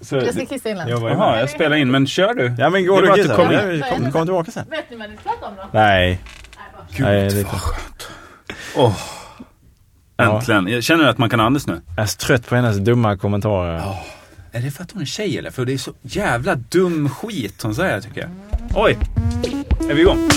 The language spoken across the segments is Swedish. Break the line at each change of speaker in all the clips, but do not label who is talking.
Så,
Jag ska kissa innan.
jag, var ju
Jaha,
med.
jag spelar in, men kör du.
Ja men
Det är
går du
bara
och
att
kissar?
du kommer-
Ja, vi kommer kom tillbaka sen.
Vet ni vad ni pratar om då?
Nej.
Gud,
Nej, det är
vad
klart.
skönt. Åh.
Ja.
Äntligen. Jag känner att man kan andas nu.
Jag är så trött på hennes dumma kommentarer.
Är det för att hon är tjej eller? För det är så jävla dum skit hon säger tycker jag. Oj, är vi igång?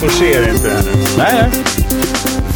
Forcera inte det här nu.
Nej, nej.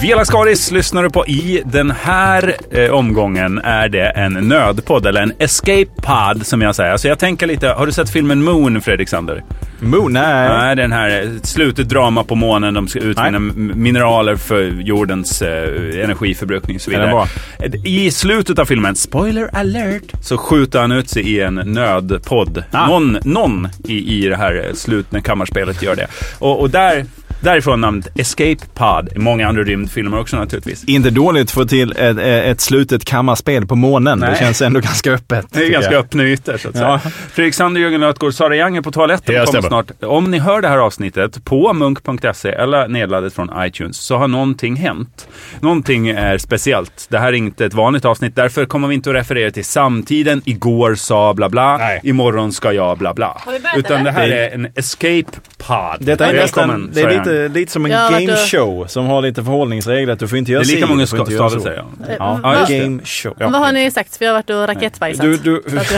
Vela Skaris lyssnar du på i den här eh, omgången är det en nödpodd eller en escape pod som jag säger. Så jag tänker lite, har du sett filmen Moon Fredrik Sander?
Moon, nej.
Nej, den här eh, slutet drama på månen. De ska utvinna m- mineraler för jordens eh, energiförbrukning och så
Är den
vidare. I slutet av filmen, spoiler alert, så skjuter han ut sig i en nödpodd.
Ah.
Någon, någon i, i det här eh, slutna kammarspelet gör det. Och, och där, därifrån namnet Escape Pod. Många andra rymdfilmer också naturligtvis.
Inte dåligt för till ett, eh, ett slutet kammarspel på månen. Det
Nej.
känns ändå ganska öppet.
Det är
tycker
ganska
jag.
öppna ytor så att
Ja.
säga. Fredrik Sander, Jörgen Lötgård, Sara Young är på toaletten
Ja,
och kommer
stämmer.
snart. Om ni hör det här avsnittet på munk.se eller nedladdat från iTunes så har någonting hänt. Någonting är speciellt. Det här är inte ett vanligt avsnitt. Därför kommer vi inte att referera till samtiden. Igår sa bla bla.
Nej.
Imorgon ska jag bla bla.
Har vi börjat,
Utan det här
eller?
är en escape pod.
Detta är, nästan, det är
Sara Young.
lite, lite som en
Ja,
game
du-
show som har lite förhållningsregler. att Du får inte
det
göra
är lika
si,
många
du får inte
ska-
göra så.
stavelser. Ja.
Ja,
Ja, just det.
game show.
Vad har ni sagt? För jag har varit och raketbajsat.
Du, du,
Så att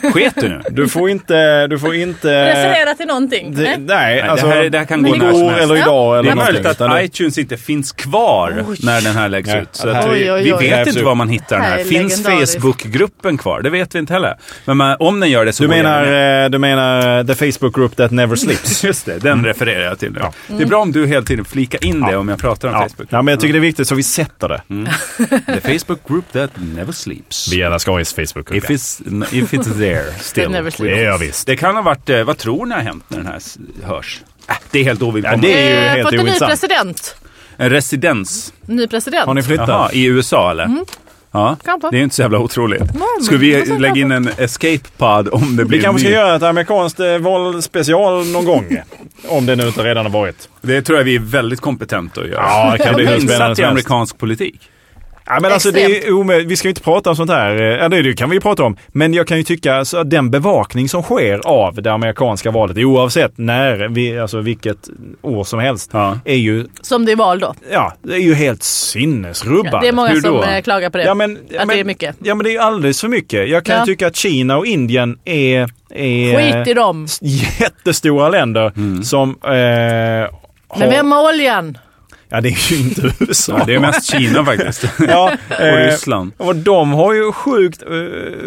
jag-
Sket du nu?
du får inte... Du får inte...
Referera till någonting.
Det,
Nej.
nej, alltså,
det här- det här kan gå
igår
när som helst.
eller idag
Det
eller
är möjligt
någonting,
att
utan det-
iTunes inte finns kvar
Oj.
när den här läggs
Nej,
ut. Så
det
att
här-
vi,
Oj, oj,
vi
oj.
vet
Grävs
inte
upp.
var man hittar den
Det
här.
här är
Finns
legendariskt.
Facebookgruppen kvar? Det vet vi inte heller. Men man, om den gör det så
Du
går jag med.
menar, eh, du menar eh, the Facebook group that never sleeps?
Just det, den Mm. refererar jag till nu. Det är bra om du hela tiden flikar in det om jag pratar om
Ja. Mm.
Facebook.
ja, men jag tycker det är viktigt så vi sätter det.
The Facebook group that never sleeps.
Vi alla ska i Facebook
If it's, if it's there still.
never sleeps.
Ja, visst.
Det kan ha varit, eh, vad tror ni har hänt när den här s- hörs? Äh, det är helt
Ja,
ovidkommande.
det är ju
Eh,
helt
fått en ny
ointressant.
president.
En residens.
Ny president.
Har ni flyttat?
Jaha, i USA eller?
Mm.
Ja,
Kanske.
det är ju inte så jävla otroligt.
men
Ska vi
vad som
lägga in en escape pod om det blir
Vi kanske ska
ny-
göra ett amerikanskt eh, valspecial någon gång. Om det nu inte redan har varit.
Det tror jag vi är väldigt kompetenta att göra.
Ja, det kan bli
Jag är
hur spännande
insatt i
som helst.
amerikansk politik.
Ja, men alltså, det är omöjligt. Vi ska ju inte prata om sånt här. Eh, Ja, det det kan vi ju prata om. Men jag kan ju tycka alltså, att den bevakning som sker av det amerikanska valet, oavsett när, vi, alltså vilket år som helst,
Ja.
är, ju,
Som det är val då.
ja, det är ju helt sinnesrubbat.
Det är många
Hur
som
då?
eh, klagar på det.
Ja, men,
att
men,
det är mycket.
Ja, men det är ju alldeles för mycket. Jag kan
Ja.
ju tycka att Kina och Indien är... är
Skit i dem.
s- jättestora länder
Mm.
som... Eh, har,
Men vem har oljan?
Ja, det är ju inte USA.
Ja, det är mest Kina faktiskt.
ja,
Och
eh,
Ryssland.
och de har ju sjukt eh,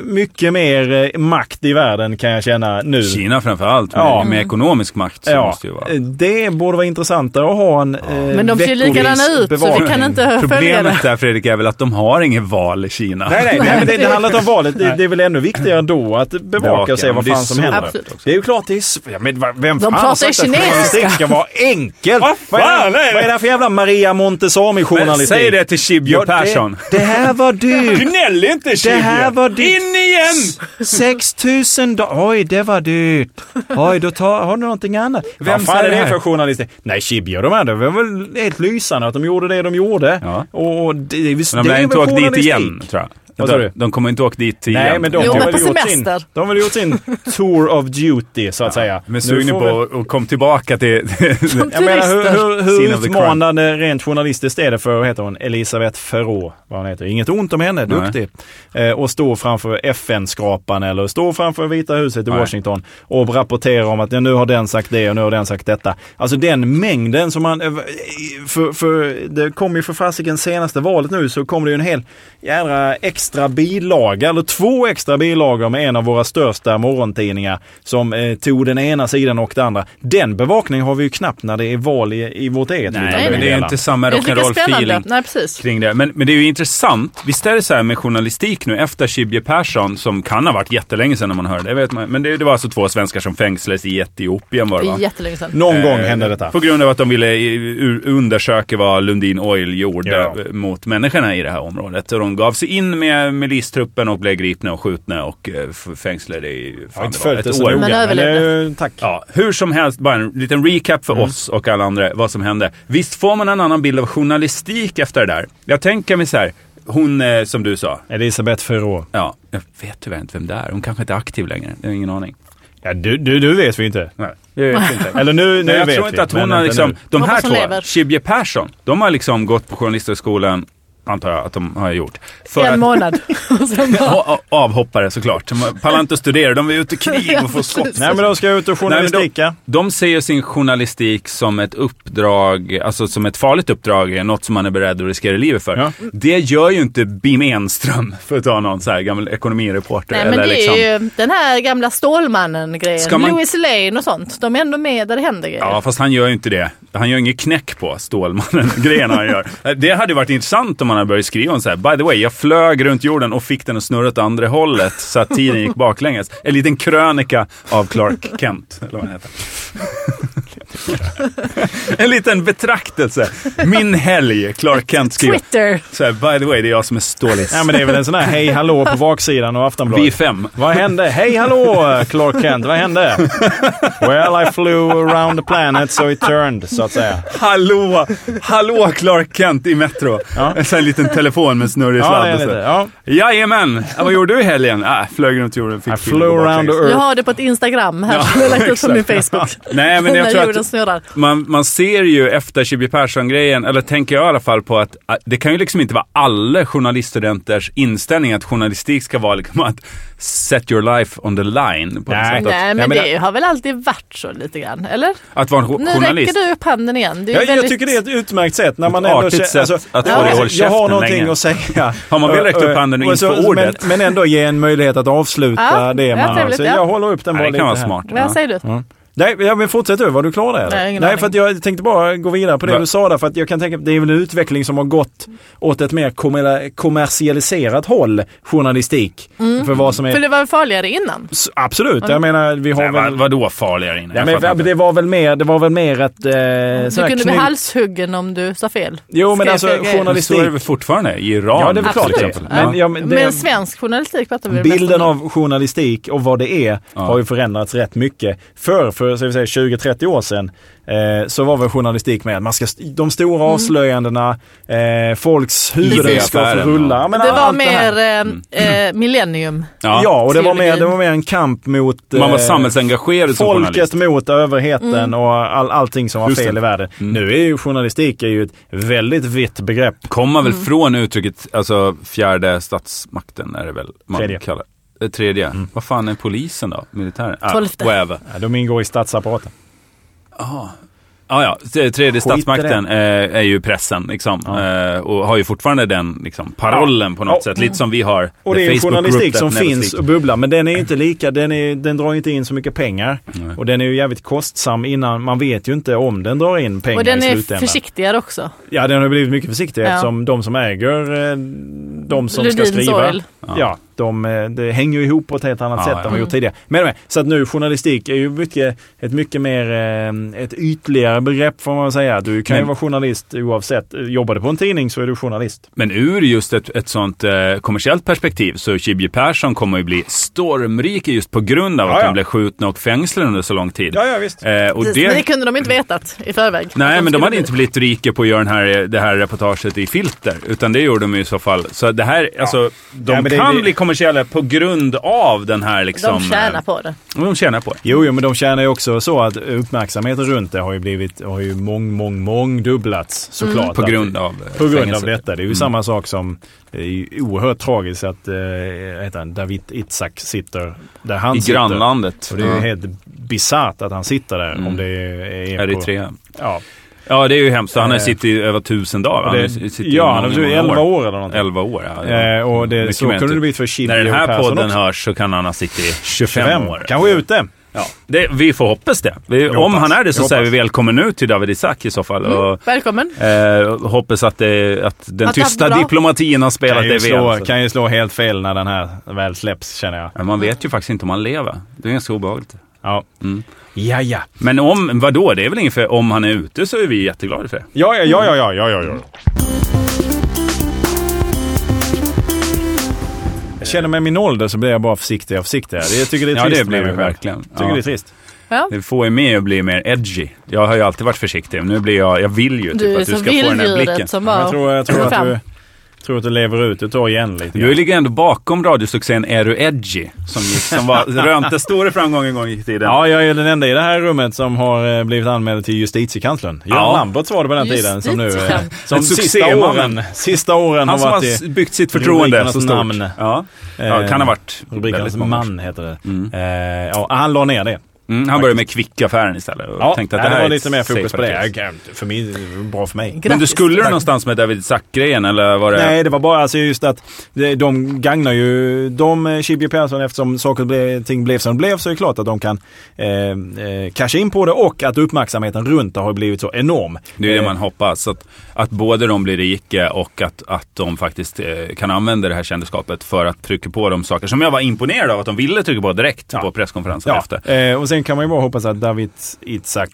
mycket mer eh, makt i världen kan jag känna nu.
Kina framför allt, men
Ja.
med ekonomisk makt så
Ja,
måste det ju vara.
eh, det borde vara intressantare att ha en eh,
Men de ser ju
veckovis
likadana ut, så vi
bevakning.
kan inte följa
Problemet
det.
där Fredrik är väl att de har inget val i Kina.
Nej, nej, nej men det, det handlar inte om valet. Det, det är väl ännu viktigare då att bevaka och se
men
vad
det är
fan som
så-
händer.
Absolut också.
Det är ju klart det är sv- ja, men va- Vem
De
fan har
pratar
sagt
ju
att
kinesiska.
journalistik ska vara enkel?
Vad
vad, är
fan
det,
är det?
vad är det här för jävla Maria
Men
Montazami-journalistik?
säg det till Shibjo
Ja, det-
Persson.
Det här var dyrt.
Gnäll inte Shibjo!
Det här var dyrt.
In igen!
6000 dollar. Oj, det var dyrt. Oj, då tar, har du någonting annat.
Vem
Vad fan
säger
är
det
det
här?
för journalistik? Nej, Shibjo de här, det var väl helt lysande att de gjorde det de gjorde.
Ja.
Och det, det, det
Men de lär
är
inte
väl
åka dit
journalistik.
igen, tror jag.
Vad sa du?
De kommer inte åka dit igen.
Nej, men de
Jo,
har
men
väl
på
gjort sin,
semester.
de har väl gjort sin tour of duty, så att säga.
Men sugen
får
på
väl-
att och kom tillbaka till...
Jag menar, hur, hur,
Sin of
hur
the
utmanande rent journalistiskt är det för, vad heter hon, Elisabeth Ferrå, vad hon heter. Inget ont om henne, duktig. Eh, och stå framför FN-skrapan eller stå framför Vita huset i
Nej.
Washington och rapportera om att ja, nu har den sagt det och nu har den sagt detta. Alltså den mängden som man, eh, för, för, det kom ju för fasiken senaste valet nu så kom det ju en hel jädra extra bilaga, eller två extra bilagor med en av våra största morgontidningar som eh, tog den ena sidan och den andra. Den bevakningen har vi ju knappt när det är val i, i vårt eget lilla
Nej, men det är ju
bydelar.
inte samma
Det är inte lika spännande.
rock'n'roll-feeling
Nej, precis.
kring det. Men, men det är ju intressant. Visst är det så här med journalistik nu efter Shibje Persson, som kan ha varit jättelänge sedan när man hörde det, vet man. Men det, det var alltså två svenskar som fängslades i Etiopien var
Det
det
är
va?
jättelänge sedan.
Någon gång
Eh,
hände detta.
På grund av att de ville i- u- undersöka vad Lundin Oil gjorde
Ja.
mot människorna i det här området. Och de gav sig in med med milistruppen och blev gripna och skjutna och eh, f- fängslade i
Jag har
fan,
inte
det var
följt det
ett
så
år.
noga.
Men överlevde.
eh, Tack.
Ja, hur som helst, bara en liten recap
Mm.
för oss och alla andra vad som hände. Visst får man en annan bild av journalistik efter det där? Jag tänker mig så här, hon eh, som du sa,
Elisabeth Ferrå.
ja, jag vet tyvärr inte vem det är. Hon kanske inte är aktiv längre, jag har ingen aning.
Ja, du, du, du vet vi inte.
Nej, det vet jag inte.
Eller nu, nu
Nej, jag
vet
tror
vi,
inte att hon
men
har
inte
liksom,
nu.
de här
Hoppas hon
två,
lever.
Shibje Persson, de har liksom gått på Journalisthögskolan, antar jag att de har gjort. För
En
att,
månad. Och sen bara,
A- a- avhoppare såklart. De pallar inte att studera, de är ute i krig och får skott.
Nej, men de ska ut och journalistika.
De ser ju sin journalistik som ett uppdrag, alltså som ett farligt uppdrag, något som man är beredd att riskera livet för.
Ja.
Det gör ju inte Bim Enström, för att ta någon så här gammal ekonomireporter.
Nej men
eller
det
liksom,
är ju den här gamla
Ska
Stålmannen-grejen.
man-
Louis Lane och sånt. De är ändå med där det händer grejer.
Ja, fast han gör ju inte det. Han gör ingen knäck på Stålmannen-grejen han gör. Det hade varit intressant om man hade börjat skriva om så här. By the way, jag flög runt jorden och fick den att snurra åt andra hållet så att tiden gick baklänges. En liten krönika av Clark Kent, eller vad han heter. en liten betraktelse. Min helg, Clark Kent skriver.
Twitter.
Så här, by the way, det är jag som är stålis.
Nej, men det är väl en sån här hej hallå på baksidan av
Vi är
Aftonbladet.
fem.
Vad hände? Hej hallå Clark Kent, vad hände? Well I flew around the planet so it turned, så att säga.
Hallå, hallå Clark Kent i Metro.
Ja.
En sån här liten telefon med en snurrig
Ja, det
sladd.
är
och så.
lite. Ja.
Jajamän! Ja, vad gjorde du i helgen? Ah, flög runt jorden.
I
Fick bilen
flew
på
around the
baklänges.
earth.
Jag har det på ett Instagram här som jag lagt ut på min Facebook.
Nej, men jag
När
tror
jorden
att
snurrar.
man, man ser ju efter 20 Persson-grejen, eller tänker jag i alla fall på att ah, det kan ju liksom inte vara alla journaliststudenters inställning att journalistik ska vara liksom att set your life on the line. På något
Nej.
sätt.
Nej
jag
men
menar-
det har väl alltid varit så lite grann, eller?
Att, att vara en jo-
Nu
journalist.
räcker du upp handen igen. Det är
Jag,
väldigt...
jag tycker det är ett utmäkt sätt när man
Ett
ändå
artigt
känner... alltså,
sätt att
få dig att hålla
jag har
käften
någonting
länge.
att säga.
Har man väl räckt upp
Eh,
handen och inte
så-
får ordet?
Men, men ändå ge en möjlighet att avsluta
Ja,
det
ja,
man har.
trevligt,
Så
ja.
jag håller upp den bara
Nej, det
lite
kan vara
här.
smart.
Vad säger du?
Nej, ja, men fortsätt du. Var du klar där? eller?
Nej, ingen
Nej
aning.
för att jag tänkte bara gå vidare på det
Va?
du sa där. För att jag kan tänka att det är väl en utveckling som har gått åt ett mer kommer- kommersialiserat håll, journalistik. För vad som är...
Mm. För det Mm. var farligare innan.
S- Absolut, jag menar vi har
Nej,
väl...
vad, vadå farligare inne?
Nej,
Jag
men,
fattar inte.
det var väl mer, det var väl mer ett... Eh,
Du kunde bli halshuggen om du sa fel.
Jo, men
Skrev
alltså,
fel grejer.
journal-
Men så är det väl fortfarande i Iran
Ja, det är väl klart
till
det.
exempel.
Men, ja, men det,
Men svensk journalistik pratar vi mest
bilden
om.
av journalistik och vad det är har ju förändrats rätt mycket. Förr, för ska vi säga 20-30 år sedan, eh, så var väl journalistik med att man ska, de
Mm.
stora avslöjandena, eh, folks huvuden ska få
IT-affären,
rulla.
ja.
Ja, men
Det var
allt det här. Mm.
mer eh, eh, millennium.
Ja.
Ja, och det var, mer,
teologin.
det var mer en kamp mot
Man
eh,
var samhällsengagerad som journalist.
Folket mot överheten
Mm.
och all, allting som var
Just
fel
det. Mm.
i världen. Nu är ju journalistik är ju ett väldigt vitt begrepp.
Kommer
Mm.
väl från uttrycket, alltså fjärde statsmakten är det väl man
Tredje. Mm.
kallar eh, Tredje. Vad fan är polisen då? Militären? Ah,
Tolfte.
Whatever.
Ja, de ingår i statsapparaten.
Ah, ja, t- tredje
Skit i det.
statsmakten eh, är ju pressen liksom. Eh, och har ju fortfarande den liksom, parollen på något
Ja.
sätt. Lite som vi har.
Och
the
det är ju
Facebook group
journalistik
that
som
never
finns och
sleeps.
bubblar, men den är ju inte lika. Den, är, den drar ju inte in så mycket pengar.
Mm.
Och den är ju jävligt kostsam innan. Man vet ju inte om den drar in pengar
Och den
i
är
slutändan.
försiktigare också.
Ja, den har blivit mycket försiktig
Ja.
eftersom de som äger, eh, de som ska
Lundins
skriva,
Oil.
ja, de, eh, det hänger ju ihop på ett helt annat
Ja,
sätt
ja.
än
Mm.
vad gjort tidigare. Men, men, så att nu journalistik är ju mycket, ett mycket mer, eh, ett ytligare begrepp får man väl säga. Du kan ju
Men-
vara journalist oavsett. Jobbar du på en tidning så är du journalist.
Men ur just ett, ett sånt eh, kommersiellt perspektiv så Shibji Persson kommer ju bli stormrik just på grund av
Ja,
att
ja.
de blev skjutna och fängslade under så lång tid.
Ja, ja visst.
Eh, och
Precis,
det,
Men det kunde de inte vetat i förväg. Att
Nej, men de
skulle
hade
bli-
inte blivit rika på att göra den här, det här reportaget i filter, utan det gjorde de ju i så fall. Så det här, alltså, de
Ja, men det-
kan
det-
bli kommersiella på grund av den här liksom...
De tjänar på det.
eh, De tjänar på det.
Jo, jo, men de tjänar ju också så att uppmärksamheten runt det har ju blivit, har ju mång, mång, mång dubblats såklart.
På
Att-
grund av eh,
på grund av
fängelse.
detta. Det är ju samma sak som, det är ju oerhört tragiskt att, eh, heter han, David Itzak sitter där han
I
sitter.
grannlandet.
Och det är ju
Ja. Mm.
helt bisarrt att han sitter där om det är, är
Eritrea.
På, ja,
Ja, det är ju hemskt. Han har
Eh,
suttit i över tusen dagar.
och
Han har
det,
suttit i
ja,
många,
han har suttit i
många
11 år eller någonting.
11 år, ja.
Eh, och det,
Mycket
så
mer
kunde
typ.
det blivit för Chili
När den
och
här
Persson
podden
också.
hörs så kan han ha suttit i 25,
25
år.
Kanske ute.
Ja. Det, vi får hoppas det. Vi, om
hoppas.
han är det så
Jag
säger vi
hoppas. Mm.
välkommen ut till David Isaac i så fall. Och,
Mm. Välkommen.
Eh, hoppas att, det, att den
Att det
tysta
har bra.
diplomatin har spelat
Kan
det
ju, slå,
väl.
kan ju slå helt fel när den här väl släpps känner jag.
Men Man vet ju faktiskt inte om han lever. Det är ganska obehagligt.
Ja, ja. ja.
Men om, vadå, det är väl inget för om han är ute så är vi jätteglada för det.
Ja, ja, ja, ja, ja, ja, ja. ja. känner mig i min ålder så blir jag bara försiktigare och försiktigare. Det- Jag tycker det är
Ja,
trist.
det blir
med
vi
mig själv.
verkligen.
Tycker
Ja.
det är trist.
Ja.
Det får ju mig att bli mer edgy. Jag har ju alltid varit försiktig. men Nu blir jag, jag vill ju typ
Du är
att du
som
ska få den här blicken.
vilddjuret som
Jag
bara...
tror, jag tror, att
Fram.
du, tror att du lever ut ett år igen lite
Du
grann.
ligger ändå bakom radiosuccén Är du edgy? Som, gick, som var, rönte stor framgång en gång i tiden.
Ja, jag är den enda i det här rummet som har eh, blivit anmäld till justitiekanslern. Göran
Ja.
Lambert var det på den tiden som nu... eh,
Justitiekanslern.
Som
En
sista
succémannen.
åren, sista åren
Han
har
som
varit
har
i...
byggt sitt förtroende så
rubrikernas
stort.
namn.
Ja. ja,
eh,
kan ha varit
Rubrikernas
väldigt många.
man heter det. Eh, ja, han la ner det.
Mm, han började med Kvickaffären istället. Och
Ja,
tänkte att
nej,
det,
det
här
var
är
lite
ett
mer fokus på
safe
det.
paket.
Jag, för mig, bra för mig.
Men du
Grattis.
skulle någonstans med David Zackari-grejen eller var det?
Nej, det var bara alltså just att det- de gagnar ju de eh, Chibye Persson eftersom saker och ble- ting blev som det blev så är det klart att de kan eh, eh, casha in på det och att uppmärksamheten runt det har blivit så enorm.
Det är det
Eh,
man hoppas. Att, att både de blir rika och att, att de faktiskt eh, kan använda det här kändisskapet för att trycka på de saker som jag var imponerad av att de ville trycka på direkt
Ja.
på presskonferensen
Ja,
efter.
eh, och sen kan man ju bara hoppas att David Itzak,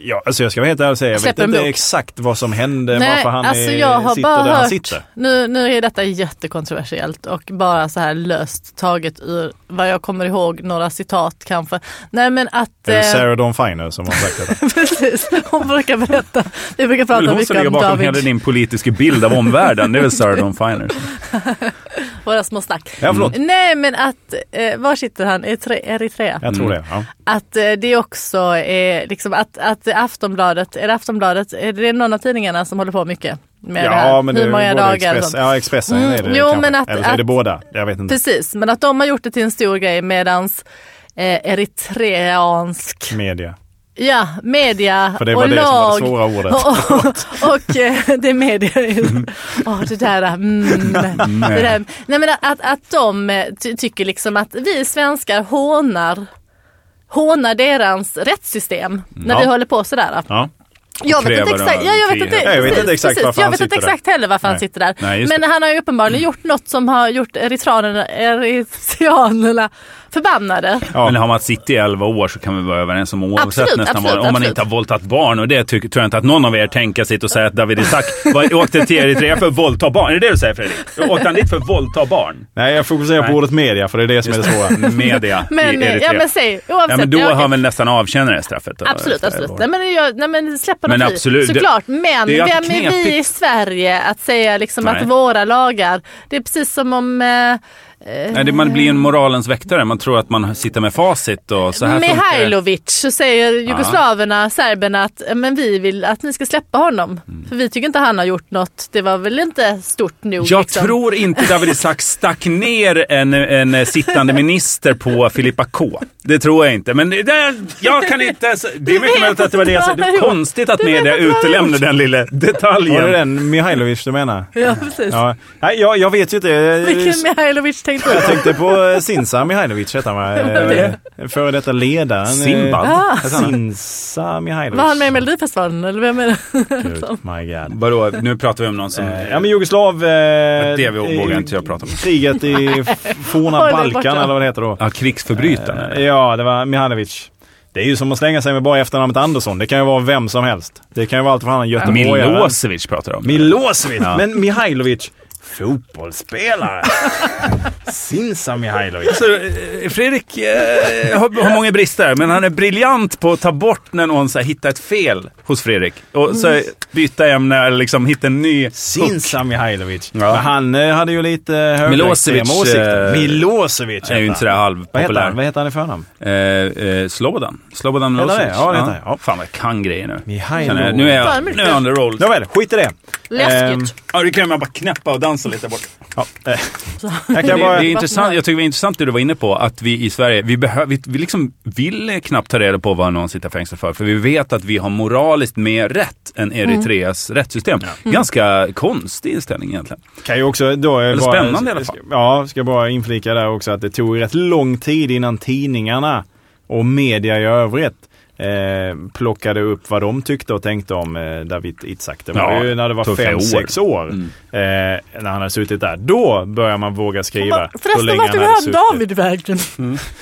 ja, alltså jag ska vara helt ärlig och säga, jag
Släpp
vet
en
inte
bok.
exakt vad som hände,
Nej,
varför han
alltså
är,
jag har
sitter
bara
där han
hört,
sitter.
nu, nu är detta jättekontroversiellt och bara så här löst taget ur vad jag kommer ihåg, några citat kanske. Nej men att...
Det är
eh,
Sarah Dawn Finer som har sagt det.
precis, hon brukar berätta, vi brukar
Det är
prata
hon som
mycket
ligger
om
bakom hela
David,
din politiska bild av omvärlden. Det är väl Sarah Dawn Finer.
våra små snack.
Ja, förlåt.
Nej men att, eh, var sitter han? Eritre- Eritrea?
Jag tror det. Ja.
Att eh, det också är liksom att, att Aftonbladet, är det Aftonbladet, är det någon av tidningarna som håller på mycket med det här?
Ja, men det
Hur många
är både
dagar? och
Express,
sånt?
Ja, Expressen
Mm,
är det
jo,
kanske.
men att-
Eller så är det
att-
båda. Jag vet inte.
Precis, men att de har gjort det till en stor grej medans eh, eritreansk
Media.
ja, media
För det
och
var det som var
lag
det svåra ordet.
och, och, och eh, det är media. Åh, det där, mm, det där. Nej, men att, att de eh, ty- tycker liksom att vi svenskar hånar hånar deras rättssystem när
Ja.
vi håller på sådär.
Ja.
Jag vet inte
kräver
exakt,
en
ja, jag vet inte,
frihet.
Jag vet inte exakt varför
jag
han
vet inte
sitter där.
exakt heller varför han
Nej. Mm.
sitter där.
Nej, just
Men han har ju uppenbarligen gjort något som har gjort eritreanerna, eritreanerna förbannade.
Ja.
Men har man suttit i 11 år så kan vi vara överens om oavsett
Absolut,
nästan
absolut,
vad, om man
absolut.
inte har våldtagit barn. Och det tycker, tror jag inte att någon av er tänker sitt och säga att David Isak var, åkte till Eritrea för att våldta barn. Är det det du säger Fredrik? Åkte han dit för att våldta barn?
Nej, jag fokuserar på
Nej.
ordet media för det är det som är det svåra.
Media
Men,
i
eh,
Eritrea.
ja, men säg, oavsett.
Ja, men då
jag-
har han väl nästan avtjänat det straffet. då,
Absolut,
efter
absolut.
elva år.
Nej men, jag, nej, men släpper
Men
dem
absolut,
fri.
det-
Såklart. Men
det är
vem
alltid
är vi
knepigt.
i Sverige att säga liksom
Nej.
att våra lagar, det är precis som om eh,
Nej, det, man blir en moralens väktare. Man tror att man sitter med facit och så här funkar det.
Mihailovic så säger jugoslaverna, serberna att eh, men vi vill att ni ska släppa honom.
Mm.
För vi tycker inte han har gjort något. Det var väl inte stort nog.
Jag
liksom.
tror inte David Isak stack ner en, en eh, sittande minister på Filippa K. Det tror jag inte. Men det- det, jag kan inte... s- Det är mycket
vet
möjligt att det var det jag sa. Det
inte vad
är
han har
konstigt att
Du vet
media
inte vad han har
utelämnar den lilla
Var det
detaljen.
den Mihailovic du menar?
Ja, precis.
Ja. Nej, jag, jag vet ju inte.
Vilken Mihailovic tänkte
Jag
du?
tänkte på eh, Sinsa Mihailovic hette han va? Eh, Före detta ledaren. eh,
Sinbad?
Ah.
Sinsa Mihailovic.
Var han med i Melodifestivalen eller vem är det?
Gud, my god.
Vadå, nu pratar vi om någon som...
Eh, Ja men Jugoslav... eh,
det vågar
eh,
inte jag prata om.
Kriget i f- forna
Håll dig
Balkan
borta.
eller vad det heter då.
Ja, krigsförbrytaren.
Ja, det var Mihailovic. Det är ju som att slänga sig med bara efternamnet Andersson. Det kan ju vara vem som helst. Det kan ju vara allt från en göteborgare.
Milosevic pratar jag om.
Milosevic. Men Mihailovic. Fotbollsspelare. Sinsa Mihailovic.
Så, eh, Fredrik eh, har, har många brister, men han är briljant på att ta bort när någon så här, hittar ett fel hos Fredrik. Och så här,
Mm.
byta ämne eller liksom hitta en ny...
Sinsa Mihailovic.
Ja.
Men han eh, hade ju lite eh,
Milosevic,
högerextrema åsikter.
eh,
Milosevic
är ju inte
heter
sådär
han. Vad heter
halvpopulär.
han? Vad heter han i förnamn?
Eh, eh, Slobodan. Slobodan
Heter han
Milosevic.
det? Ja, det heter han. Ja.
Fan vad jag kan grejer nu.
Mihailo.
Känner jag- Nu är jag, nu är jag on the roll.
Nåväl, skit i det. Ehm,
Läskigt.
Ja, det kan man bara knäppa och dansa lite bort.
ja, eh, jag
Det,
kan
det är
bara...
intressant, jag tycker det är intressant det du var inne på, att vi i Sverige, vi, behö, vi, vi liksom vill eh, knappt ta reda på vad någon sitter fängslad för, för vi vet att vi har moraliskt mer rätt än Eritreas rättssystem. Mm. Ganska konstig inställning egentligen.
Kan ju också då Eller bara,
spännande i alla fall.
Ja, ska bara inflika där också att det tog rätt lång tid innan tidningarna och media i övrigt eh, plockade upp vad de tyckte och tänkte om eh, David Itzak. Det var
Ja,
ju när det var
tuffa år. Mm.
5-6 år. Eh, när han hade suttit där. Då börjar man våga skriva.
Man,
Hur
förresten,
länge
vart
han
tog
hade
han
suttit.
David vägen?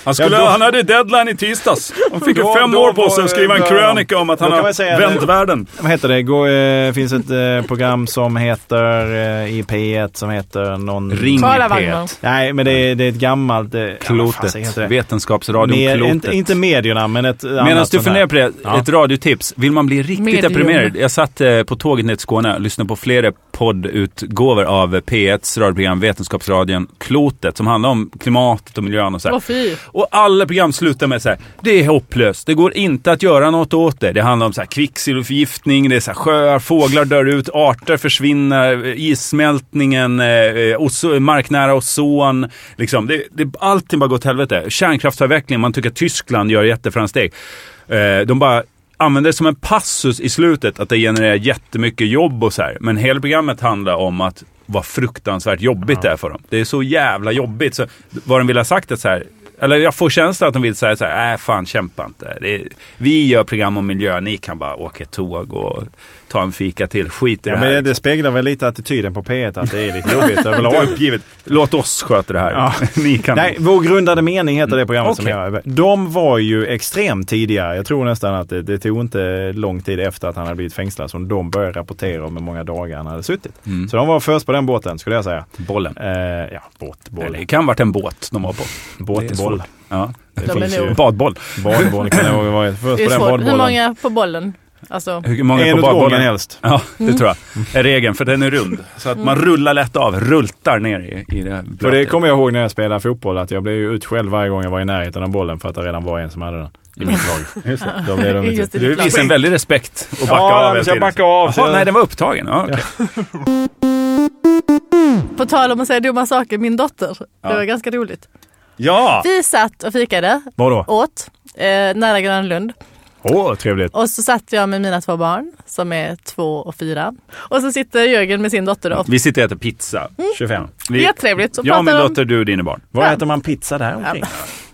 Han, skulle,
Ja, då-
han hade deadline i tisdags. Han fick ju
Då-
fem
då
år på
var-
sig att skriva en
då-
krönika om att
då
han
kan
har
man säga
vänt
det.
världen.
Vad heter det? Gå, eh, finns ett eh, program som heter eh, i P1 som heter någon...
Ring
Klara
P1.
Wagner.
Nej, men det är, det är ett gammalt... Eh, vad fan
Klotet.
heter det?
Vetenskapsradion
Med,
Klotet.
inte, inte medierna, men ett
Medan
annat
du
sånt här.
funderar på det,
Ja.
ett radiotips. Vill man bli riktigt
Medium.
deprimerad? Jag satt eh, på tåget ner till Skåne och lyssnade på flera poddutgåvor av P1s radioprogram Vetenskapsradion Klotet som handlar om klimatet och miljön och så här.
Åh fy.
Och alla program slutar med så här, det är hopplöst, det går inte att göra något åt det. Det handlar om så här kvicksilverförgiftning, det är så här sjöar, fåglar dör ut, arter försvinner, eh, issmältningen, eh, eh, ozo- marknära ozon. Liksom. Det, det, allting bara går åt helvete. Kärnkraftsavveckling, man tycker att Tyskland gör jätteframsteg. Eh, De bara använder det som en passus i slutet att det genererar jättemycket jobb och så här. Men hela programmet handlar om att vad fruktansvärt jobbigt det är för dem. Det är så jävla jobbigt. Så vad de vill ha sagt är så här, eller jag får känslan att de vill säga så här, nej fan kämpa inte. Det är, vi gör program om miljö, ni kan bara åka tåg och ta en fika till. Skit i
Ja,
det här.
men det speglar väl lite attityden på P1 att det är lite jobbigt
Det
överlag.
är uppgivet. Låt oss sköta det här.
Ja.
ni kan.
Nej, Vår grundade mening heter det programmet som
Okej.
jag De var ju extremt tidiga. Jag tror nästan att det, det tog inte lång tid efter att han hade blivit fängslad som de började rapportera om hur många dagar han hade suttit.
Mm.
Så de var först på den båten skulle jag säga.
Bollen.
Eh, ja, båt,
Eller, det
boll,
kan ha varit en båt de var på. Det är
båt,
svårt.
boll.
Ja.
De är
finns ju.
nog-
Badboll.
Boll, boll kan jag ihåg varit
Det
först
är
på den
svårt. Hur
bollbollen.
många på bollen? Alltså,
Hur många
En
på
åt gången
badbollen?
helst.
Ja, det
Mm.
tror jag. Är regeln, för den är rund. Så att man rullar lätt av, rultar ner i, i det här
För det
blötet.
kommer jag ihåg när jag spelade fotboll att jag blev ju utskälld varje gång jag var i närheten av bollen för att det redan var en som hade den i mitt lag. Just det. Då blev de inte...
just i
Du
ditt lag.
visar Mm. en väldig respekt och backar
Ja,
av
men
hela
så jag
tiden.
backar av. Alltså, så
Jaha,
jag-
nej, den var upptagen. Ja, okej.
På tal om att säga dumma saker, min dotter.
Ja.
Det var ganska roligt.
ja.
Vi satt och fikade,
Vadå?
åt, eh, nära Grönlund.
Åh, trevligt.
Och så satt jag med mina två barn som är två och fyra. Och så sitter Jörgen med sin dotter då.
Vi sitter och äter pizza.
Mm.
25.
Vi,
Jättetrevligt. Så
jag, min
pratar de-
dotter, du och dina barn.
Var
Ja.
äter man pizza där omkring?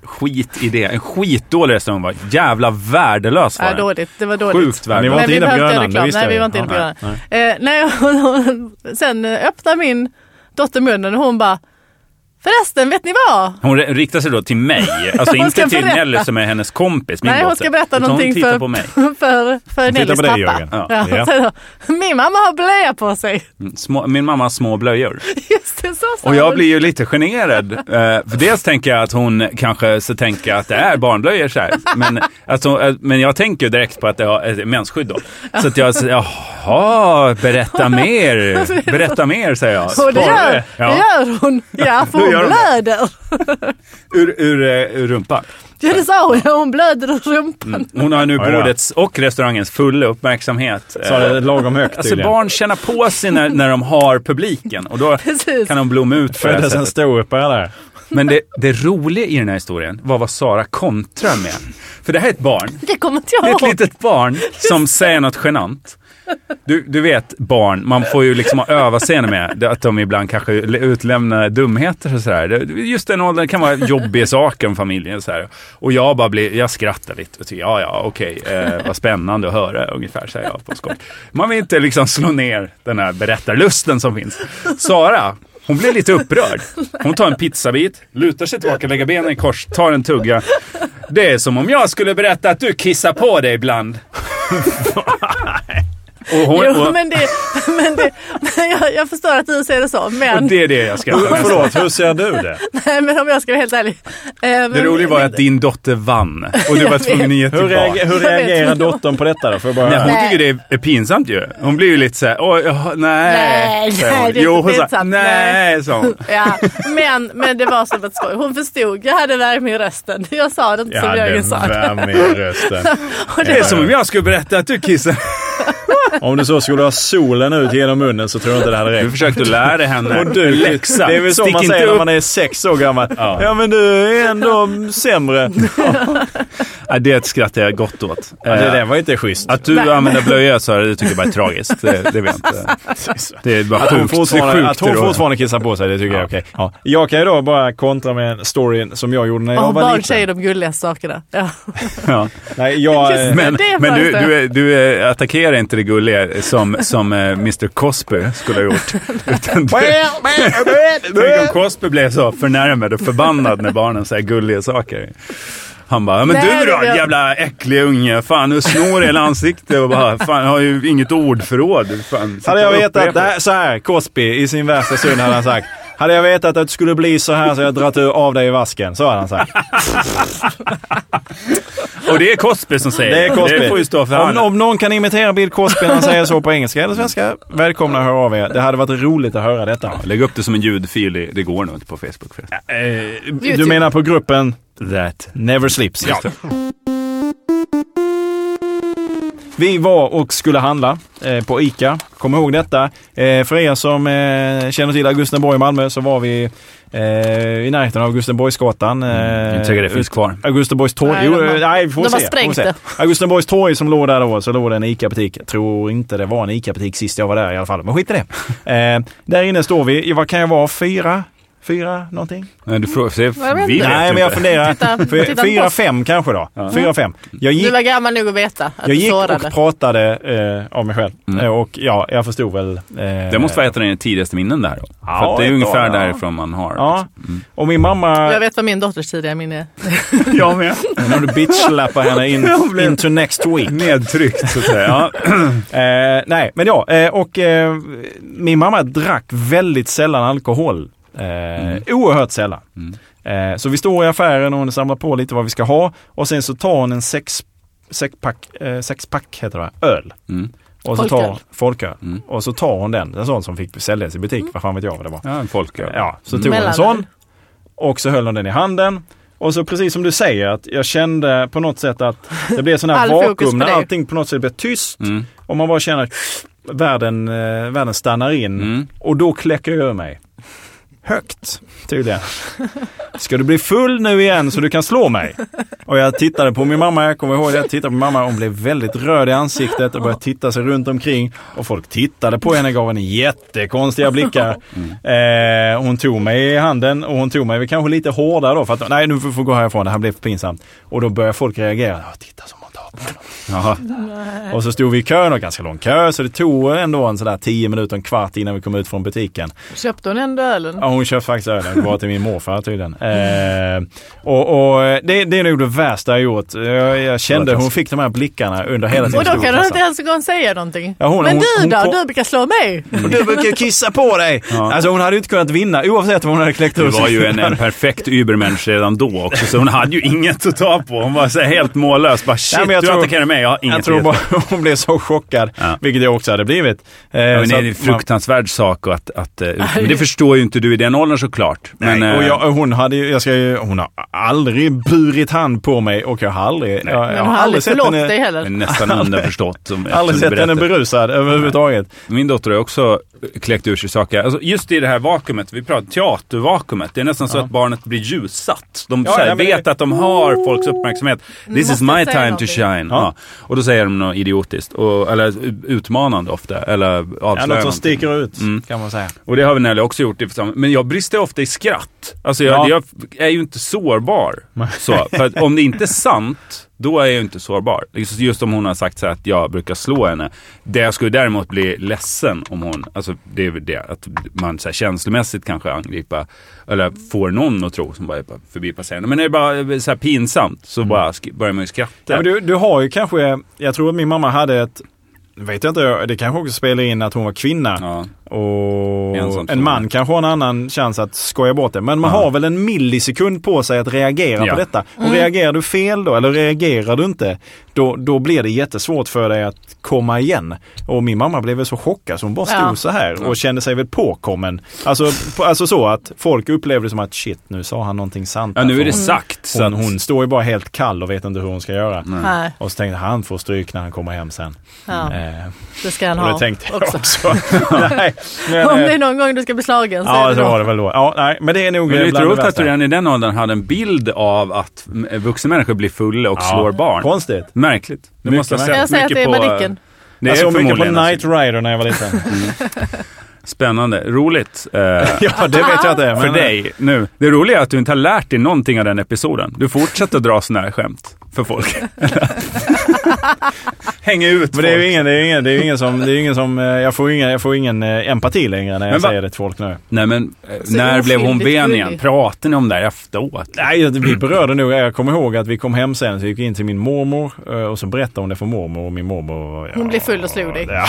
Skit i det. En skitdålig restaurang var. Jävla värdelös var
Ja,
den.
dåligt. Det var dåligt.
Sjukt
Ni
värdelös.
var
Men
inte
vi
inne på
behövde
Grönan, det
reklam.
visste
Nej,
jag
vi
ju.
var inte inne på
Ja,
Grönan. Eh, nej, och- sen eh, öppnar min dotter munnen och hon bara Förresten, vet ni vad?
Hon re- riktar sig då till mig,
Hon
alltså inte
ska
till
berätta.
Nelly som är hennes kompis, min
Nej,
dotter.
hon ska berätta
Utan
någonting
hon tittar
för,
på mig.
för, för
tittar
Nellys
på dig, Jörgen.
pappa.
Ja.
Ja,
Ja.
och säger då, Min mamma har blöja på sig.
Mm, Små, min mamma har små blöjor.
Just det, så sa
Och jag
hon.
blir ju lite generad. Eh, för dels tänker jag att hon kanske så tänker att det är barnblöjor så här. Men, alltså, eh, men jag tänker ju direkt på att det har ett mensskydd då. Så att jag säger, jaha, berätta mer. Berätta mer, säger jag.
Och det
Spara
gör,
det. Ja.
det gör hon. Ja, för
Då
hon
gör hon det.
blöder.
Ur, ur, eh, ur rumpan.
Ja, det sa hon. Ja, Hon blöder ur rumpan.
Hon har nu
Oj då.
bordets och restaurangens fulla uppmärksamhet.
Sa
Eh,
det lagom högt
Alltså
tydligen.
barn känner på sig när, när de har publiken och då
Precis.
kan de blomma ut på det här
Föddes en
sättet.
ståuppare där.
Men det, det roliga i den här historien var vad Sara kontrar med. För det här är ett barn
Det kommer inte
Det är
jag
ett
ihåg.
litet barn som säger något genant. Du, du vet barn, man får ju liksom öva sig med det, att de ibland kanske utlämnar dumheter och sådär. Det- Just den åldern kan vara jobbiga saker om familjen och sådär. Och jag bara blir, jag skrattar lite och tycker ja ja okej, eh, vad spännande att höra ungefär säger jag på skoj. Man vill inte liksom slå ner den här berättarlusten som finns. Sara, hon blir lite upprörd. Hon tar en pizzabit, lutar sig tillbaka, lägger benen i kors, tar en tugga. Det är som om jag skulle berätta att du kissar på dig ibland. och, hon,
Jo,
och,
men det, men det, men jag, jag förstår att du ser det så,
och
men,
det är det jag ska
Förlåt, hur ser du det?
nej, men om jag ska vara helt ärlig. Eh,
Det roliga var att din dotter vann och du var tvungen att ge
Hur,
tillbaka.
reager, hur
Jag vet
reagerar
inte.
dottern på detta då? Får jag bara
Nej, hon
Nej.
tycker det är pinsamt ju. Hon blir ju lite såhär, åh, jaha, nej.
Nej,
säger hon.
nej, det är
jo,
inte
hon sa,
pinsamt,
nej, sa hon.
Ja, men, men det var som ett skoj. Hon förstod. Jag hade värme i rösten. Jag sa det inte som Jörgen sa.
värme i rösten.
Och
Det är
det,
som om jag skulle berätta att du kissar.
Om du så skulle ha solen ut genom munnen så tror jag inte det hade
Du
räckt.
försökte lära henne
Och du,
en läxa.
Det är väl så
Stick
man
inte
säger
upp.
när man är sex år gammal.
Ja.
Ja. men du är ändå sämre.
Ja, det skrattar jag gott åt.
Ja, det
Eh,
där var inte schysst.
Att du
Nej.
använder blöja så här, det tycker jag bara är tragiskt. Det, det vet jag inte. Det är bara
Att hon
sjukt. det är
fortfarande,
sjukt
att hon
det då.
fortfarande kissar på sig, det tycker jag är okej. Ja. Jag kan ju då bara kontra med en story som jag gjorde när jag
Och
var
barn säger
liten.
de gulligaste sakerna. Ja.
Ja.
Nej, jag,
Just-
eh,
Men,
Det är
men du,
faktiskt-
du, är- du är- attackerar inte det gulliga som, som eh, Mr Cosby skulle ha gjort. Utan du, tänk om Cosby blev så förnärmad och förbannad när barnen säger gulliga saker. Han bara, "Ja, men
Nej,
du då
det är-
jävla äcklig unge, fan du snor hela ansiktet och bara, fan jag har ju inget ordförråd. Fan,
hade jag
sitter och
vetat, det
upprepar
här, så här, Cosby i sin värsta stund hade han sagt. Hade jag vetat att det skulle bli så här så hade jag dragit ur- av dig i vasken. Så hade han sagt.
Och det är Cosby som säger
Det är Cosby.
Det får ju stå för
om,
honom.
om någon kan imitera Bill Cosby när han säger så på engelska eller svenska, välkomna att höra av er. Det hade varit roligt att höra detta.
Lägg upp det som en ljudfil. i- Det går nog inte på Facebook. För.
Du menar på gruppen
That.
Never Slips? Vi var och skulle handla eh, på ICA. Kom ihåg detta. Eh, för er som eh, känner till Augustenborg i Malmö så var vi eh, i närheten av Augustenborgsgatan. Eh,
Mm. Jag tycker det finns kvar.
Augustenborgs torg.
Nej,
Nej, jo,
de har-
eh, nej, vi får
de
se.
har
vi får
sprängt
se.
det.
Augustenborgs torg som låg där då, så låg det en ICA-butik. Jag tror inte det var en ICA-butik sist jag var där i alla fall, men skit i det. eh, där inne står vi, i- vad kan jag vara, fyra? Fyra någonting?
Nej, du frågar, se,
Jag vet
vi
inte.
vet
Nej,
ju
men jag
inte.
funderar.
Titta-
Fy-
titta på
fyra,
oss.
fem kanske då. Fyra, fem. Jag gick
Du var gammal nog att veta att
jag
du
gick
sårade.
och pratade eh, av mig själv.
Mm.
Eh, och ja, jag förstod väl. Eh,
Det måste vara ett av dina tidigaste minnen där. då.
Ja,
för att det är
ett
ungefär
tag, ja.
därifrån man har. liksom. Mm.
Ja. Och min
Jag
mamma...
vet vad min dotters tidiga minne är.
Jag med.
När du bitchlappar henne in, into next week.
Nedtryckt så att säga. Ja.
Eh, nej, men ja. Eh, och eh, min mamma drack väldigt sällan alkohol. Eh,
Mm.
Oerhört sällan. Eh, så vi står i affären och hon samlar på lite vad vi ska ha. Och sen så tar hon en sex, sexpack, eh, sexpack heter det, va? öl.
Mm.
Och så
Folköl.
tar folköl.
Mm.
Och så tar hon den, en sån som fick säljas i butik, vad fan vet jag vad det var.
ja, en folköl.
Ja, så tog hon en
Mm. Mellanöl.
sån och så höll hon den i handen. Och så precis som du säger, att jag kände på något sätt att det blev sån här
All fokus på
vakuum när
dig.
allting på något sätt blev tyst
Mm.
och man bara känner att världen, eh, världen stannar in.
Mm.
Och då kläcker jag ur mig. Högt, tydligen. Ska du bli full nu igen så du kan slå mig? Och jag tittade på min mamma, jag kommer ihåg det, jag tittade på min mamma, hon blev väldigt röd i ansiktet och började titta sig runt omkring. Och folk tittade på henne, gav henne jättekonstiga blickar. Eh, hon tog mig i handen och hon tog mig kanske lite hårdare då för att, nej nu får får gå härifrån, det här blev för pinsamt. Och då började folk reagera, "Ja, titta som hon tar på honom.
Jaha.
Mm. Och så stod vi i kön, och ganska lång kö, så det tog ändå en sådär 10 minuter, en kvart innan vi kom ut från butiken.
Köpte hon ändå ölen?
Ja, hon köpte faktiskt ölen, bara till min morfar tydligen. Eh, och och eh, det, det är nog det värsta jag gjort. Jag, jag kände hon fick de här blickarna under hela tiden.
Och då kan
hon
hon inte ens en gång säga någonting.
Ja, hon-
Men
hon-
du
hon
då?
kom-
Du brukar slå mig.
Och du brukar kissa på dig! Alltså hon hade ju inte kunnat vinna oavsett vad hon hade kläckt
Du
ur
var
sig.
ju en, en perfekt übermensch redan då också, så hon hade ju inget att ta på. Hon var så här helt mållös. Bara, shit,
Nej, men jag
du
tror-
attackerar mig. Jag har inget
Jag tror
att
bara hon blev så chockad,
Ja.
vilket jag också hade blivit. Eh,
Ja, men
så
det är en
att man-
fruktansvärd sak att... att eh, men det förstår ju inte du i den åldern såklart. Men,
Nej, och
eh,
jag, och hon, hade, ju- jag ska ju, hon har aldrig burit hand på mig och jag har aldrig, jag, jag
Men hon har aldrig förlått dig
det är
heller.
nästan underförstått. Som
aldrig
eftersom du
sett henne
berättar.
berusad överhuvudtaget.
Min dotter har också kläckt ur sig saker. Alltså, just i det här vakuumet, vi pratar teatervakuumet. Det är nästan så att barnet blir ljussatt. De
Ja,
så här,
ja, men
vet
det-
att de har folks uppmärksamhet. This is
måste
my
säga
time to
någonting.
shine. Ja.
Ja.
Och då säger de något idiotiskt. Och, eller utmanande ofta. Eller
Ja, något som
avslöjande.
sticker ut
Mm.
kan man säga.
och det har väl Nelly också gjort. i församling- Men jag brister ofta i skratt. Alltså jag,
Ja.
jag är ju inte sårbar. Så, för att om det inte är sant, då är jag ju inte sårbar. Just- Just om hon har sagt så här att jag brukar slå henne. Det jag skulle däremot bli ledsen om hon, alltså det är väl det att man så här känslomässigt kanske angripa eller får någon att tro som bara är på- förbipasserande. Men det är bara eh, så här pinsamt så bara sk- börjar man ju skratta.
Mm. Ja, men du, du har ju kanske, jag tror att min mamma hade ett, vet jag inte, det kanske också spelar in att hon var kvinna.
Ja.
Och
Ensam
en man kanske har en annan chans att skoja bort det. Men man
Ja.
har väl en millisekund på sig att reagera
Ja.
på detta. Och
Mm.
reagerar du fel då, eller reagerar du inte, då, då blir det jättesvårt för dig att komma igen. Och min mamma blev väl så chockad så hon bara stod
Ja.
så här och kände sig väl påkommen. Alltså, på, alltså så att folk upplevde det som att shit, nu sa han någonting sant.
Ja, nu
här.
är det
För
sagt. Så
hon,
att,
hon, hon står ju bara helt kall och vet inte hur hon ska göra.
Nej,
Och så tänkte jag, han får stryk när han kommer hem sen.
ja,
Eh,
det ska han
och det
ha.
tänkte jag också. nej, men, eh,
Om det är någon gång du ska bli slagen så
Ja,
är
så
det då.
var det väl då. Ja, nej, men det är nog
men det är lite
bland
roligt
det
att du
värsta.
redan i den åldern hade en bild av att mm, vuxna människor blir fulla och
Ja.
slår barn.
Konstigt.
Märkligt. Du
Mycket eh,
måste ha
märkligt.
Jag
sett
säger att det
mycket
är
på...
Manicken.
Det är
jag såg mycket på
förmodligen alltså.
Knight Rider när jag var liten.
Spännande. Roligt. eh,
ja, det vet jag att det är.
För dig nu. Det roliga är att du inte har lärt dig någonting av den episoden. Du fortsätter dra sådana här skämt för folk. Häng ut
Men det är
folk.
ju ingen, det är ju ingen, det är ju ingen som, det är ju ingen som, eh, jag får ju ingen, jag får ju ingen eh, empati längre när jag
Men va-
säger det till folk nu.
Nej men, eh, när blev hon
oskyldigt
ben igen?
gullig.
Pratar ni om det här efteråt?
Nej, jag- vi berörde nog, jag kommer ihåg att vi kom hem sen så gick vi in till min mormor eh, och så berättade hon det för mormor och min mormor var- ja,
Hon blev full och slog dig.
Ja.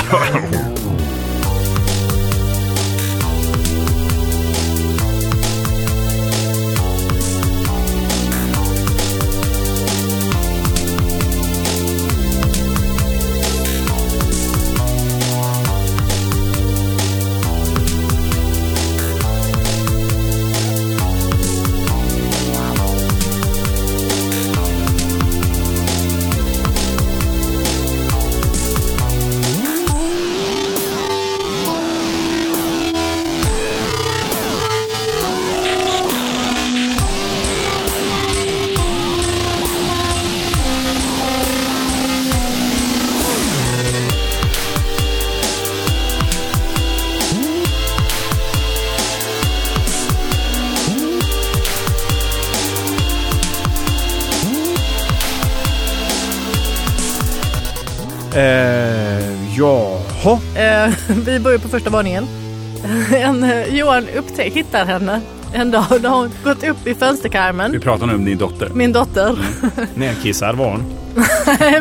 Eh, jaha.
Eh, vi börjar på första våningen. En, eh, Johan upptäck, hittar henne en dag. Då har hon gått upp i
Vi
fönsterkarmen.
pratar nu om din dotter.
Min dotter.
Nerkissad var hon.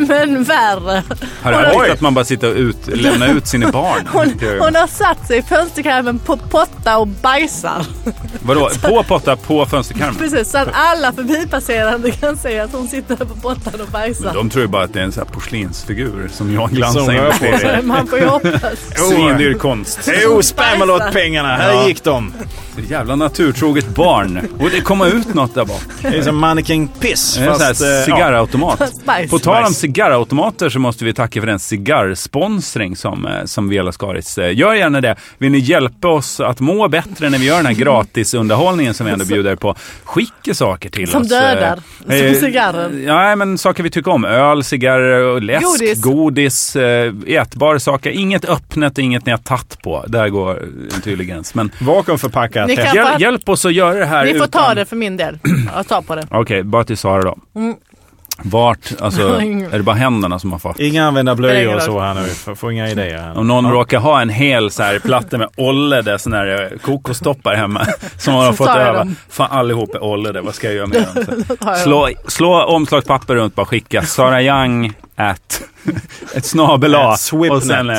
Men värre.
Har du tyckt att man bara sitter och ut, lämnar ut sina barn?
Hon, hon har satt sig i fönsterkarmen på potta och bajsar.
Vadå? På potta, på fönsterkarmen?
Precis, så att alla förbipasserande kan se att hon sitter på pottan och bajsar.
De tror ju bara att det är en sån här porslinsfigur som jag
Som
glansar in
rör på
på.
sig.
Man får ju hoppas.
Svindyr konst.
Jo, spammel åt pengarna. Här
Ja.
gick de.
Jävla naturtroget barn. Och det kommer ut något där bak.
Det är som mannequin piss.
Det är en sån
eh,
här
ja.
cigarrautomat.
Bajs.
På tal om
Nice.
cigarrautomater så måste vi tacka för den cigarrsponsring som, eh, som Vela Skaris eh, gör gärna det. Vill ni hjälpa oss att må bättre när vi gör den här gratisunderhållningen som vi ändå bjuder på? Skicka saker till
Som
oss.
dödar.
eh,
Som cigarren.
eh, Nej, men saker vi tycker om. Öl, cigarrer, och läsk, godis,
Godis.
godis eh, ätbara saker. Inget öppnet, inget ni har tagit på. Där går en tydlig gräns. Men
Vakuumförpackat.
Ni kan-
hjäl- hjälp oss att göra det här
Ni får
utan...
ta det för min del. Jag tar på det.
Okej, bara till Sara då.
Mm.
Vart, alltså, är det bara händerna som har fått?
Inga använda blöjor och
Regler.
så här nu. Får, får inga idéer här.
Om någon råkar ha en hel så här platta med Ollede, sån här eh, kokostoppar hemma, som man har
Så
fått
tar jag
öva.
dem.
Fan, allihop är Ollede, vad ska jag göra med dem? Så här.
Tar jag.
Slå, slå omslagspapper runt, bara skicka. Sara Young at ett snabel A
At Swipnet.
och sen eh,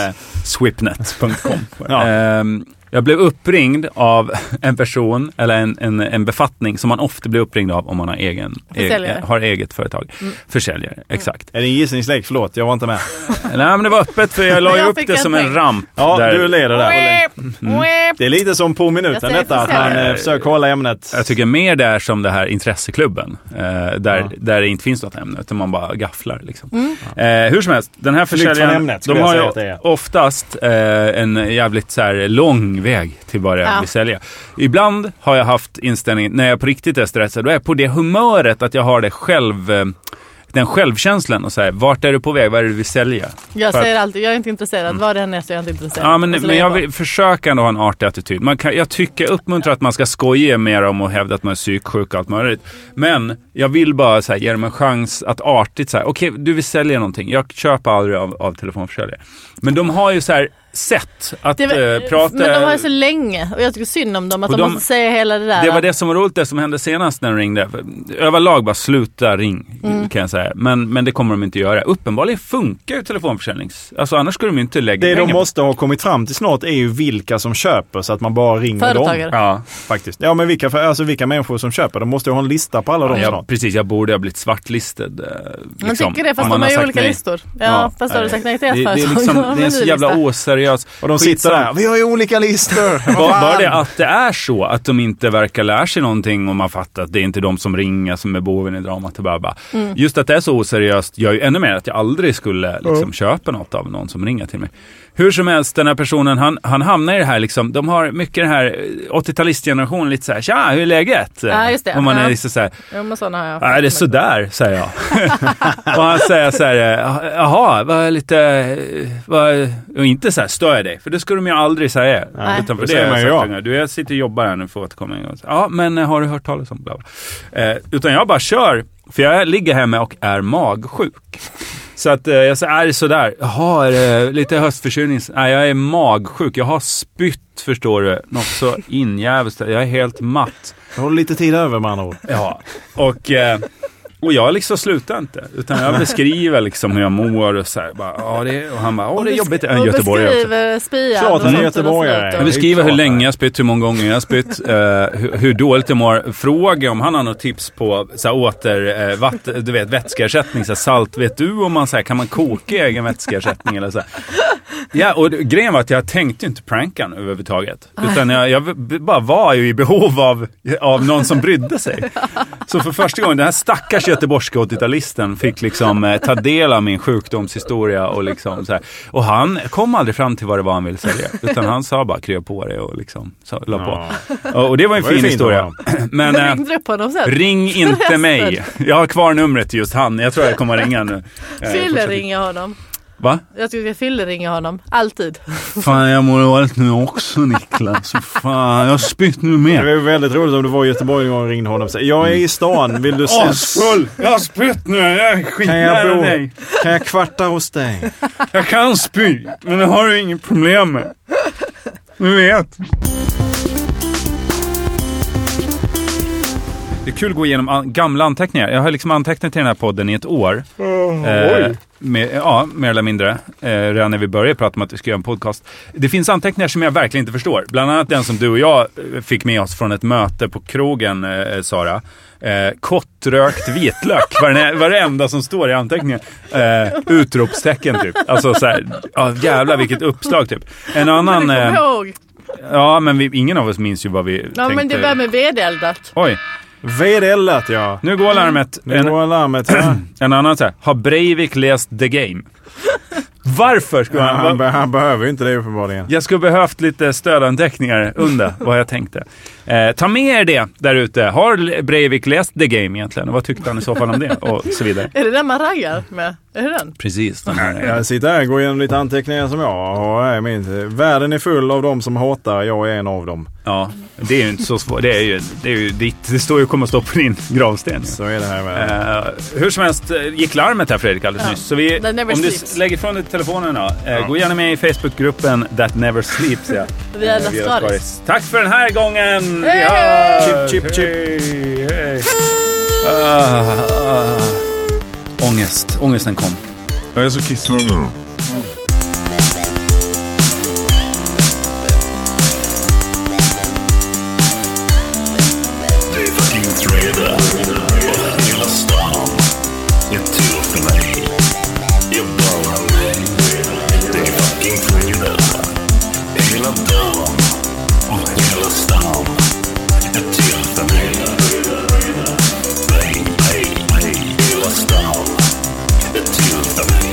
swipnet.com.
Ja.
Ehm, jag blev uppringd av en person, eller en, en, en befattning som man ofta blir uppringd av om man har, egen,
Försäljare. Mm.
eh, har eget företag. Försäljare, exakt.
Är det en gissningslek? Förlåt, jag var inte med.
Nej men det var öppet för jag la ju
Jag
upp
fick
det
en
som en
poäng.
ramp.
Ja,
där. Mm.
du leder där. Det är lite som på
Jag
minuten
säger
detta, att han
försäljare.
eh, försöker hålla ämnet.
Jag tycker mer det är som det här intresseklubben. Eh, där,
Ja.
där det inte finns något ämne utan man bara gafflar. Liksom. Eh, hur som helst, den här
Flykt från
försäljaren
ämnet, skulle
de
jag
har
säga att det
ju
är.
oftast eh, en jävligt så här, lång väg till vad det är
Ja.
vi säljer. Ibland har jag haft inställningen, när jag på riktigt är stressad, då är jag på det humöret att jag har det själv, eh, den självkänslan och så här, vart är du på väg, vad är det du vill sälja?
Jag
För att- Mm.
säger alltid, jag är inte intresserad. Vad det än är så är jag inte intresserad.
Ja, men,
Och så
men
lägger
jag
på.
vill, försöker ändå ha en artig attityd. Man kan, jag tycker, jag uppmuntrar att man ska skoja mer om och hävda att man är psyksjuk och allt möjligt. Men jag vill bara så här, ge dem en chans att artigt säga, okej, du vill sälja någonting. Jag köper aldrig av, av telefonförsäljare. Men de har ju så här sätt att
Det var,
eh, prata.
Men de har ju så länge och jag tycker synd om dem att
Och
de,
de-
måste säga hela det där.
Det var det som var roligt, det som hände senast när de ringde. Överlag bara sluta ring,
Mm.
kan jag säga. Men, men det kommer de inte göra. Uppenbarligen funkar ju telefonförsäljning. Alltså annars skulle de ju inte lägga
Det de
pengar på-
måste ha kommit fram till snart är ju vilka som köper så att man bara ringer
Företagare.
dem.
Ja,
Faktiskt. Ja men vilka, alltså vilka människor som köper. De måste ju ha en lista på alla dem
jag,
snart.
precis. Jag borde ha blivit svartlistad. eh,
Man
liksom,
tycker det
om
fast de
man
har ju
sagt
olika
nej.
listor. Ja,
Ja,
fast har du sagt nej till
Det,
ett
det, är
företag.
liksom,
då har
det
man
är
en
en så jävla
lista.
oseriös.
Och de sitter där. Vi har ju olika listor. Vad
Bara, bara
fan?
det att det är så att de inte verkar lära sig någonting och man fattar att det är inte de som ringer som är boven i dramat. Det är Bara, bara.
Mm.
Just att det är så oseriöst gör ju ännu mer att jag aldrig skulle liksom, köpa något av någon som ringer till mig. Hur som helst, den här personen, han, han hamnar i det här liksom, de har mycket den här eh, 80-talistgenerationen, lite så här, tja, hur är läget?
Ja, just det.
Och man
Ja.
är liksom så här,
Jo, men sådana har jag.
Nej, det är sådär, säger jag. och han säger så här, eh, jaha, var lite, var, och inte så här, stör jag dig? För det skulle de ju aldrig säga.
Nej.
Utan
Det
för det
säger
är
man ju
så
ja.
att, Du, jag sitter och jobbar här nu, får återkomma en gång. Så, Ja, men eh, har du hört talas om bla, bla. Eh, Utan jag bara kör, för jag ligger hemma och är magsjuk. Så att eh, jag säger, är det sådär? Jaha, är det lite höstförkylning? Nej, jag är magsjuk. Jag har spytt, förstår du. Något så injävligt. Jag är helt matt.
Då har du lite tid över med andra ord.
Ja, och, eh, och jag liksom slutar inte. Utan jag beskriver liksom hur jag mår och så här. Bara, ja, det, är- och han bara, åh det är jobbigt. Jag är
Och
göteborgare också.
beskriver spyan.
Klart
och
han är
sånt
göteborgare.
och
Jag
sånt.
Vi-
beskriver hur
klart,
länge jag spytt, hur många gånger jag spytt, eh, hur, hur dåligt jag mår. Fråga om han har något tips på så här, åter, eh, vatt, du vet, vätskeersättning, så här, salt. Vet du om man så här, kan man koka i egen vätskeersättning eller så? Här. Ja, och det- grejen var att jag tänkte ju inte pranka honom överhuvudtaget. Utan jag, jag b- bara var ju i behov av, av någon som brydde sig. Så för första gången, den här stackars göteborgska 80-talisten fick liksom eh, ta del av min sjukdomshistoria och liksom så här. Och han kom aldrig fram till vad det var han ville sälja. Utan han sa bara krya på det och liksom så, la på.
Ja.
Och, och det var en
Det var ju
fin
fint av
historia.
honom.
Men
Jag
eh,
ringde upp honom sen.
ring inte mig. Jag har kvar numret till just han. Jag tror jag kommer att ringa nu. Eh, fortsätt-
Fylleringa honom.
Va?
Jag tycker jag fylleringa honom. Alltid.
Fan, jag mår dåligt nu också Niklas. Fan, jag har spytt nu
Det var
med.
ju väldigt roligt om du var i Göteborg en gång och ringde honom och sa Jag är i stan, vill du ses?
Jag har spytt nu! Jag är
Kan jag bo? Kan jag kvarta hos dig?
Jag kan spy, men det har du inget problem med. Du vet. Det är kul att gå igenom an- gamla anteckningar. Jag har liksom antecknat till den här podden i ett år. Eh, med, ja, mer eller mindre. Eh, redan när vi började prata om att vi ska göra en podcast. Det finns anteckningar som jag verkligen inte förstår. Bland annat den som du och jag eh, fick med oss från ett möte på krogen, eh, Sara. Eh, kortrökt vitlök var det, var det enda som står i anteckningen. Eh, utropstecken typ. Alltså så här, ja, jävlar vilket uppslag typ. En
Men
annan,
det kommer
eh,
jag ihåg.
ja men vi, ingen av oss minns ju vad vi
Ja,
tänkte.
men det börjar med vedeldat.
Oj,
Vedeldat ja.
nu går larmet.
Nu
En,
går larmet. Ja.
en annan så här, har Breivik läst The Game? Varför skulle han?
Han, be- han behöver ju inte det uppenbarligen.
Jag skulle behövt lite stödanteckningar under vad jag tänkte. Eh, ta med er det där ute. Har Breivik läst The Game egentligen? Och vad tyckte han i så fall om det? Och så vidare.
Är det den man raggar med? Är det den?
Precis. Den här,
Jag sitter här och går igenom lite anteckningar som jag har. här i min- Världen är full av dem som hatar. Jag är en av dem.
ja, det är ju inte så svårt. Det, är ju, det, är ju ditt, det står ju kommer stå på din gravsten.
Så är det här med.
Eh, hur som helst eh, gick larmet här Fredrik alldeles
Ja.
nyss. Så vi,
That never
om du
sleeps.
lägger ifrån dig telefonen då. Eh, Gå gärna med i Facebookgruppen That Never Sleeps. Ja.
Vi är
Eh, vi
alla
har
stories.
stories. Tack för den här gången!
Hej!
Chip, chip, chip.
Hej, hej. Ah, ah. Ångest. Ångesten kom.
Jag är så kissnödig nu. Det är fucking fredag och hela stan är till för mig. Jag bara mig. Det är fucking fredag hela dagen och hela stan är till för mig. Bang, bang, bang, hela stan är till för mig.